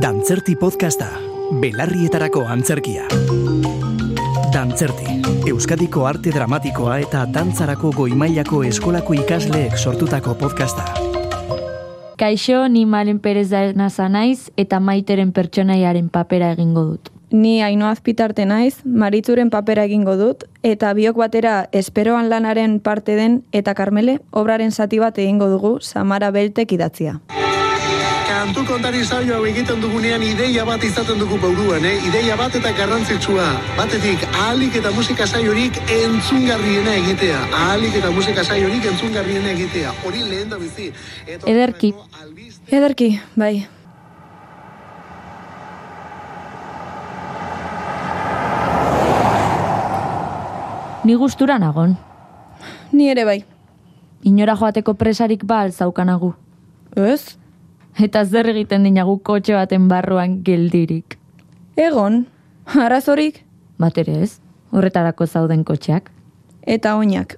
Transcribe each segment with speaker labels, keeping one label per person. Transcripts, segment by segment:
Speaker 1: Dantzerti podcasta, belarrietarako antzerkia. Dantzerti, Euskadiko arte dramatikoa eta dantzarako goimailako eskolako ikasleek sortutako podcasta.
Speaker 2: Kaixo, ni Maren Perez da naza naiz eta maiteren pertsonaiaren papera egingo dut.
Speaker 3: Ni haino azpitarte naiz, maritzuren papera egingo dut, eta biok batera esperoan lanaren parte den eta karmele obraren zati bat egingo dugu Samara Beltek idatzia.
Speaker 4: Kantu kontari saio hau egiten dugunean ideia bat izaten dugu bauruan, eh? ideia bat eta garrantzitsua. Batetik, ahalik eta musika saiorik entzungarriena egitea. Ahalik eta musika saiorik entzungarriena egitea. Hori lehen da bizi. Eta
Speaker 2: Ederki.
Speaker 4: horretarako albiste-
Speaker 3: Ederki, bai.
Speaker 2: Ni gustura nagon.
Speaker 3: Ni ere bai.
Speaker 2: Inora joateko presarik ba alzaukanagu.
Speaker 3: Ez?
Speaker 2: Eta zer egiten dinagu kotxe baten barruan geldirik.
Speaker 3: Egon. Arazorik
Speaker 2: Bat ere ez, horretarako zauden kotxeak.
Speaker 3: eta oinak.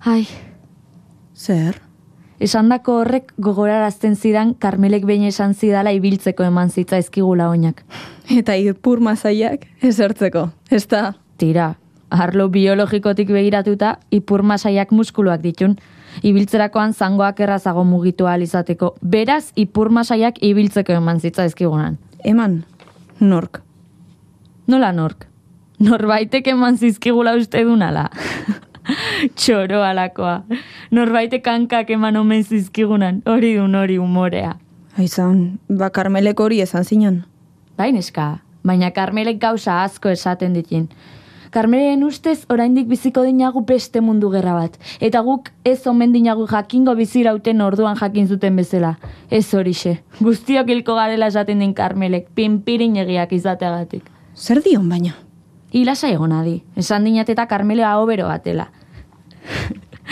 Speaker 2: Ai,
Speaker 3: Zer?
Speaker 2: esandako horrek gogorarazten zidan Karmelek behin esan zidala ibiltzeko eman zitzaizkigula oinak.
Speaker 3: Eta irpur mazaiak esertzeko. Ez da,
Speaker 2: Tira, arlo biologikotik begiratuta ipur masaiak muskuluak ditun. Ibiltzerakoan zangoak errazago mugitu ahal izateko. Beraz, ipur masaiak ibiltzeko eman zitzaizkigunan.
Speaker 3: eman, nork.
Speaker 2: Nola nork? Norbaitek eman zizkigula uste dunala. Txoro alakoa. Norbaitek hankak eman omen zizkigunan. Hori dun hori umorea.
Speaker 3: Aizan, ba karmelek hori esan zinan.
Speaker 2: Bai, neska, baina Karmelek gauza asko esaten ditin. Karmelen ustez oraindik biziko dinagu beste mundu gerra bat. Eta guk ez omen dinagu jakingo bizirauten orduan jakin zuten bezala. Ez horixe. Guztiok hilko garela esaten din Karmelek, pinpirin egiak izateagatik.
Speaker 3: Zer dion baina?
Speaker 2: Ilasa egon adi, esan dinat eta Karmelea obero batela.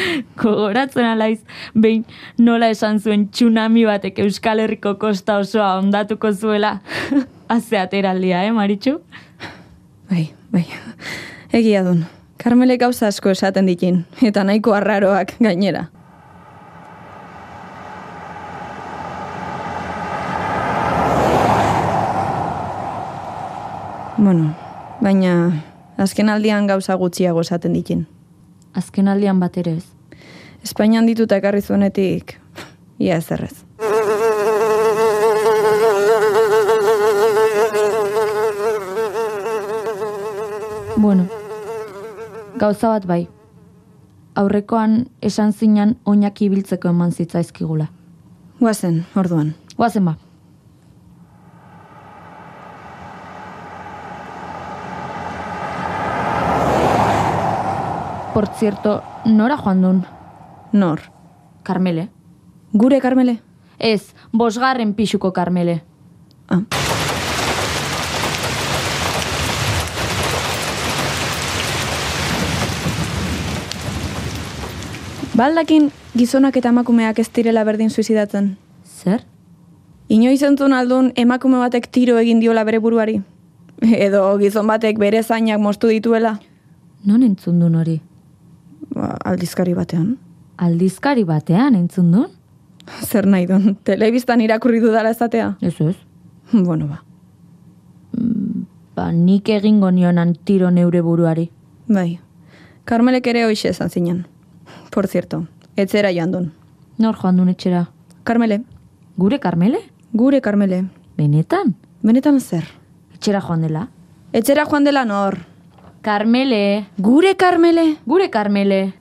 Speaker 2: Gogoratzen alaiz, behin nola esan zuen tsunami batek Euskal Herriko kosta osoa ondatuko zuela. Aze ateraldia, eh, Maritxu?
Speaker 3: Bai, bai. Egia dun. Karmelek gauza asko esaten ditin, eta nahiko arraroak gainera. Bueno, baina azken aldian gauza gutxiago esaten ditin.
Speaker 2: Azken aldian bat ere ez.
Speaker 3: Espainian dituta ekarri zuenetik, ia ez errez.
Speaker 2: Bueno, gauza bat bai. Aurrekoan esan zinan oinak ibiltzeko eman zitzaizkigula.
Speaker 3: Guazen, orduan.
Speaker 2: Guazen ba. Por cierto, nora joan dun?
Speaker 3: Nor,
Speaker 2: Karmele.
Speaker 3: gure Karmele?
Speaker 2: Ez, bosgarren pixuko Karmele.
Speaker 3: Ah. Baldakin Ba, gizonak eta emakumeak ez direla berdin suizidatzen.
Speaker 2: Zer?
Speaker 3: Inoiz entzun aldun emakume batek tiro egin diola bere buruari. Edo gizon batek bere zainak moztu dituela.
Speaker 2: Non entzun dun hori?
Speaker 3: Ba, aldizkari batean.
Speaker 2: Aldizkari batean entzun dun?
Speaker 3: Zer nahi dun, telebistan irakurri dudala ezatea.
Speaker 2: Ez ez.
Speaker 3: Bueno ba,
Speaker 2: Ba, nik egingo nionan tiro neure buruari.
Speaker 3: bai. Karmelek ere hoxe esan zinen. Por cierto, etzera joan dun.
Speaker 2: Nor joan dun etxera?
Speaker 3: Karmele,
Speaker 2: Gure Karmele?
Speaker 3: Gure, Karmele,
Speaker 2: Benetan?
Speaker 3: benetan zer?
Speaker 2: Etxera joan dela?
Speaker 3: Etxera joan dela nor.
Speaker 2: Karmele!
Speaker 3: Gure, Karmele?
Speaker 2: Gure Karmele!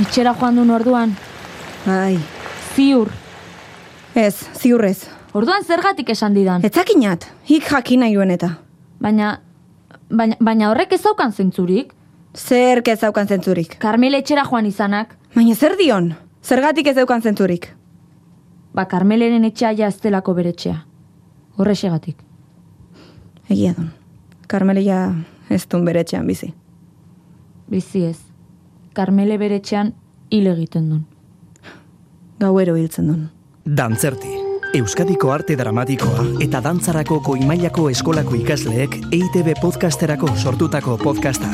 Speaker 2: Etxera joan duen orduan,
Speaker 3: Ai,
Speaker 2: ziur.
Speaker 3: ez, ziurrez.
Speaker 2: Orduan zergatik esan didan.
Speaker 3: Etzakinat, hik jakin nahi duen eta.
Speaker 2: Baina, baina, baina horrek ez daukan zentzurik.
Speaker 3: Zer ez daukan zentzurik.
Speaker 2: Karmele etxera joan izanak,
Speaker 3: Baina zer dion? Zergatik ez daukan zentzurik.
Speaker 2: ba Karmeleren etxea ja ez delako bere etxea. Horrexegatik.
Speaker 3: Egia dun. Karmele ja ez dun bere etxean bizi.
Speaker 2: Bizi ez. Karmele bere etxean hil egiten duen.
Speaker 3: Gauero hiltzen dun.
Speaker 1: Dantzerti, Euskadiko arte dramatikoa eta dantzarako goimailako E eskolako ikasleek EITB podcasterako sortutako podcasta.